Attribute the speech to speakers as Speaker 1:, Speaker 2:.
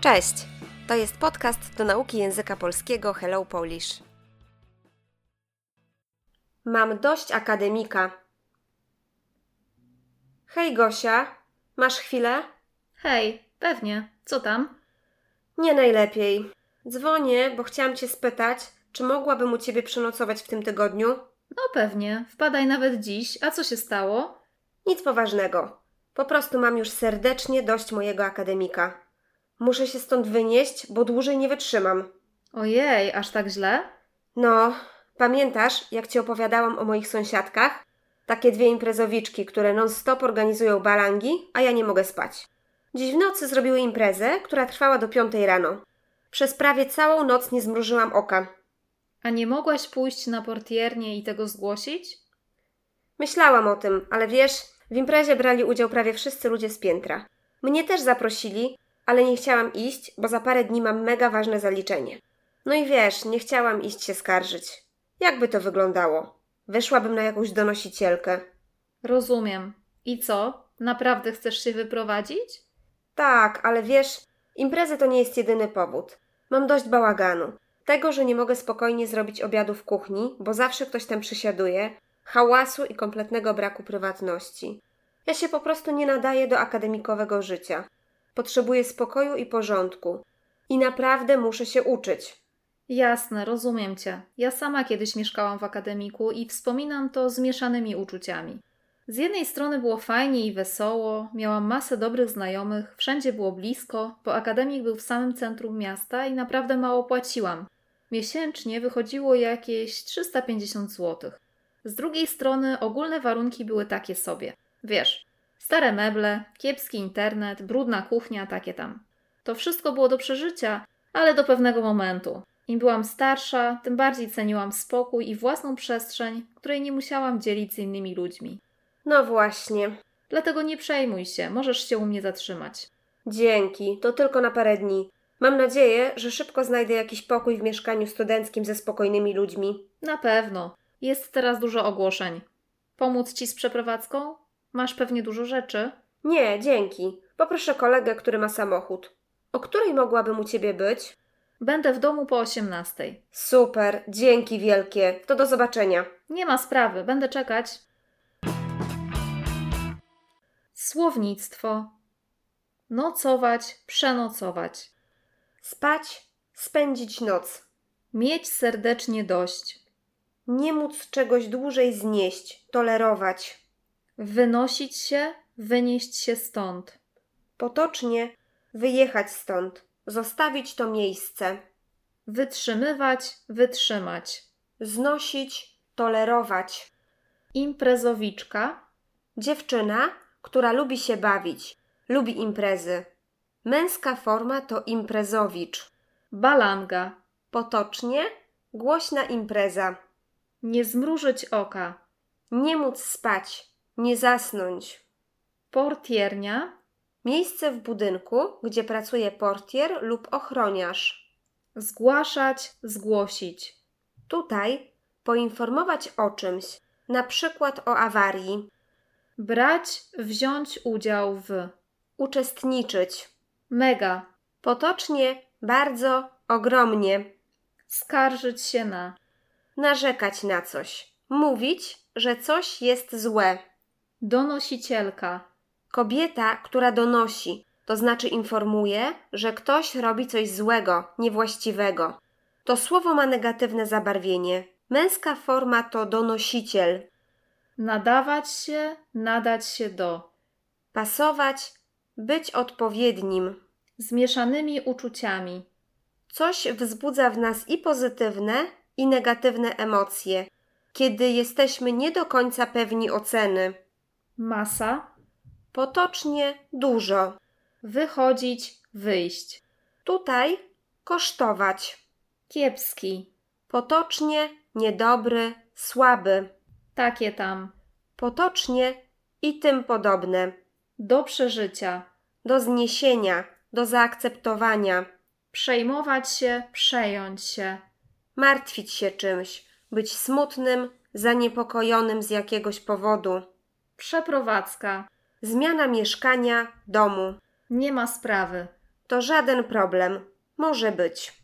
Speaker 1: Cześć! To jest podcast do nauki języka polskiego Hello Polish. Mam dość akademika. Hej Gosia, masz chwilę?
Speaker 2: Hej, pewnie. Co tam?
Speaker 1: Nie najlepiej. Dzwonię, bo chciałam Cię spytać, czy mogłabym u Ciebie przenocować w tym tygodniu?
Speaker 2: No pewnie. Wpadaj nawet dziś. A co się stało?
Speaker 1: Nic poważnego. Po prostu mam już serdecznie dość mojego akademika. Muszę się stąd wynieść, bo dłużej nie wytrzymam.
Speaker 2: Ojej, aż tak źle?
Speaker 1: No, pamiętasz, jak ci opowiadałam o moich sąsiadkach? Takie dwie imprezowiczki, które non-stop organizują balangi, a ja nie mogę spać. Dziś w nocy zrobiły imprezę, która trwała do piątej rano. Przez prawie całą noc nie zmrużyłam oka.
Speaker 2: A nie mogłaś pójść na portiernię i tego zgłosić?
Speaker 1: Myślałam o tym, ale wiesz, w imprezie brali udział prawie wszyscy ludzie z piętra. Mnie też zaprosili, ale nie chciałam iść, bo za parę dni mam mega ważne zaliczenie. No i wiesz, nie chciałam iść się skarżyć. Jakby to wyglądało? Wyszłabym na jakąś donosicielkę.
Speaker 2: Rozumiem. I co? Naprawdę chcesz się wyprowadzić?
Speaker 1: Tak, ale wiesz, imprezy to nie jest jedyny powód. Mam dość bałaganu. Tego, że nie mogę spokojnie zrobić obiadu w kuchni, bo zawsze ktoś tam przysiaduje, hałasu i kompletnego braku prywatności. Ja się po prostu nie nadaję do akademikowego życia. Potrzebuję spokoju i porządku. I naprawdę muszę się uczyć.
Speaker 2: Jasne, rozumiem cię. Ja sama kiedyś mieszkałam w akademiku i wspominam to z mieszanymi uczuciami. Z jednej strony było fajnie i wesoło, miałam masę dobrych znajomych, wszędzie było blisko, bo akademik był w samym centrum miasta i naprawdę mało płaciłam. Miesięcznie wychodziło jakieś 350 zł. Z drugiej strony ogólne warunki były takie sobie. Wiesz, stare meble, kiepski internet, brudna kuchnia, takie tam. To wszystko było do przeżycia, ale do pewnego momentu. Im byłam starsza, tym bardziej ceniłam spokój i własną przestrzeń, której nie musiałam dzielić z innymi ludźmi.
Speaker 1: No właśnie.
Speaker 2: Dlatego nie przejmuj się, możesz się u mnie zatrzymać.
Speaker 1: Dzięki, to tylko na parę dni. Mam nadzieję, że szybko znajdę jakiś pokój w mieszkaniu studenckim ze spokojnymi ludźmi.
Speaker 2: Na pewno. Jest teraz dużo ogłoszeń. Pomóc ci z przeprowadzką? Masz pewnie dużo rzeczy.
Speaker 1: Nie, dzięki. Poproszę kolegę, który ma samochód. O której mogłabym u ciebie być?
Speaker 2: Będę w domu po 18.
Speaker 1: Super, dzięki wielkie. To do zobaczenia.
Speaker 2: Nie ma sprawy, będę czekać. Słownictwo. Nocować, przenocować.
Speaker 1: Spać, spędzić noc.
Speaker 2: Mieć serdecznie dość.
Speaker 1: Nie móc czegoś dłużej znieść, tolerować.
Speaker 2: Wynosić się, wynieść się stąd.
Speaker 1: Potocznie wyjechać stąd, zostawić to miejsce.
Speaker 2: Wytrzymywać, wytrzymać.
Speaker 1: Znosić, tolerować.
Speaker 2: Imprezowiczka.
Speaker 1: Dziewczyna, która lubi się bawić, lubi imprezy. Męska forma to imprezowicz.
Speaker 2: Balanga.
Speaker 1: Potocznie głośna impreza.
Speaker 2: Nie zmrużyć oka.
Speaker 1: Nie móc spać, nie zasnąć.
Speaker 2: Portiernia.
Speaker 1: Miejsce w budynku, gdzie pracuje portier lub ochroniarz.
Speaker 2: Zgłaszać, zgłosić.
Speaker 1: Tutaj poinformować o czymś, na przykład o awarii,
Speaker 2: Brać, wziąć udział w.
Speaker 1: uczestniczyć.
Speaker 2: Mega.
Speaker 1: Potocznie, bardzo, ogromnie.
Speaker 2: Skarżyć się na.
Speaker 1: Narzekać na coś. Mówić, że coś jest złe.
Speaker 2: Donosicielka.
Speaker 1: Kobieta, która donosi, to znaczy informuje, że ktoś robi coś złego, niewłaściwego. To słowo ma negatywne zabarwienie. Męska forma to donosiciel.
Speaker 2: Nadawać się, nadać się do.
Speaker 1: Pasować, być odpowiednim.
Speaker 2: Z mieszanymi uczuciami.
Speaker 1: Coś wzbudza w nas i pozytywne, i negatywne emocje, kiedy jesteśmy nie do końca pewni oceny.
Speaker 2: Masa.
Speaker 1: Potocznie dużo.
Speaker 2: Wychodzić, wyjść.
Speaker 1: Tutaj kosztować.
Speaker 2: Kiepski.
Speaker 1: Potocznie niedobry, słaby,
Speaker 2: Takie tam.
Speaker 1: potocznie i tym podobne.
Speaker 2: Do przeżycia.
Speaker 1: Do zniesienia, do zaakceptowania,
Speaker 2: Przejmować się, przejąć się.
Speaker 1: martwić się czymś, być smutnym, zaniepokojonym z jakiegoś powodu.
Speaker 2: Przeprowadzka.
Speaker 1: Zmiana mieszkania, domu.
Speaker 2: Nie ma sprawy.
Speaker 1: To żaden problem. Może być.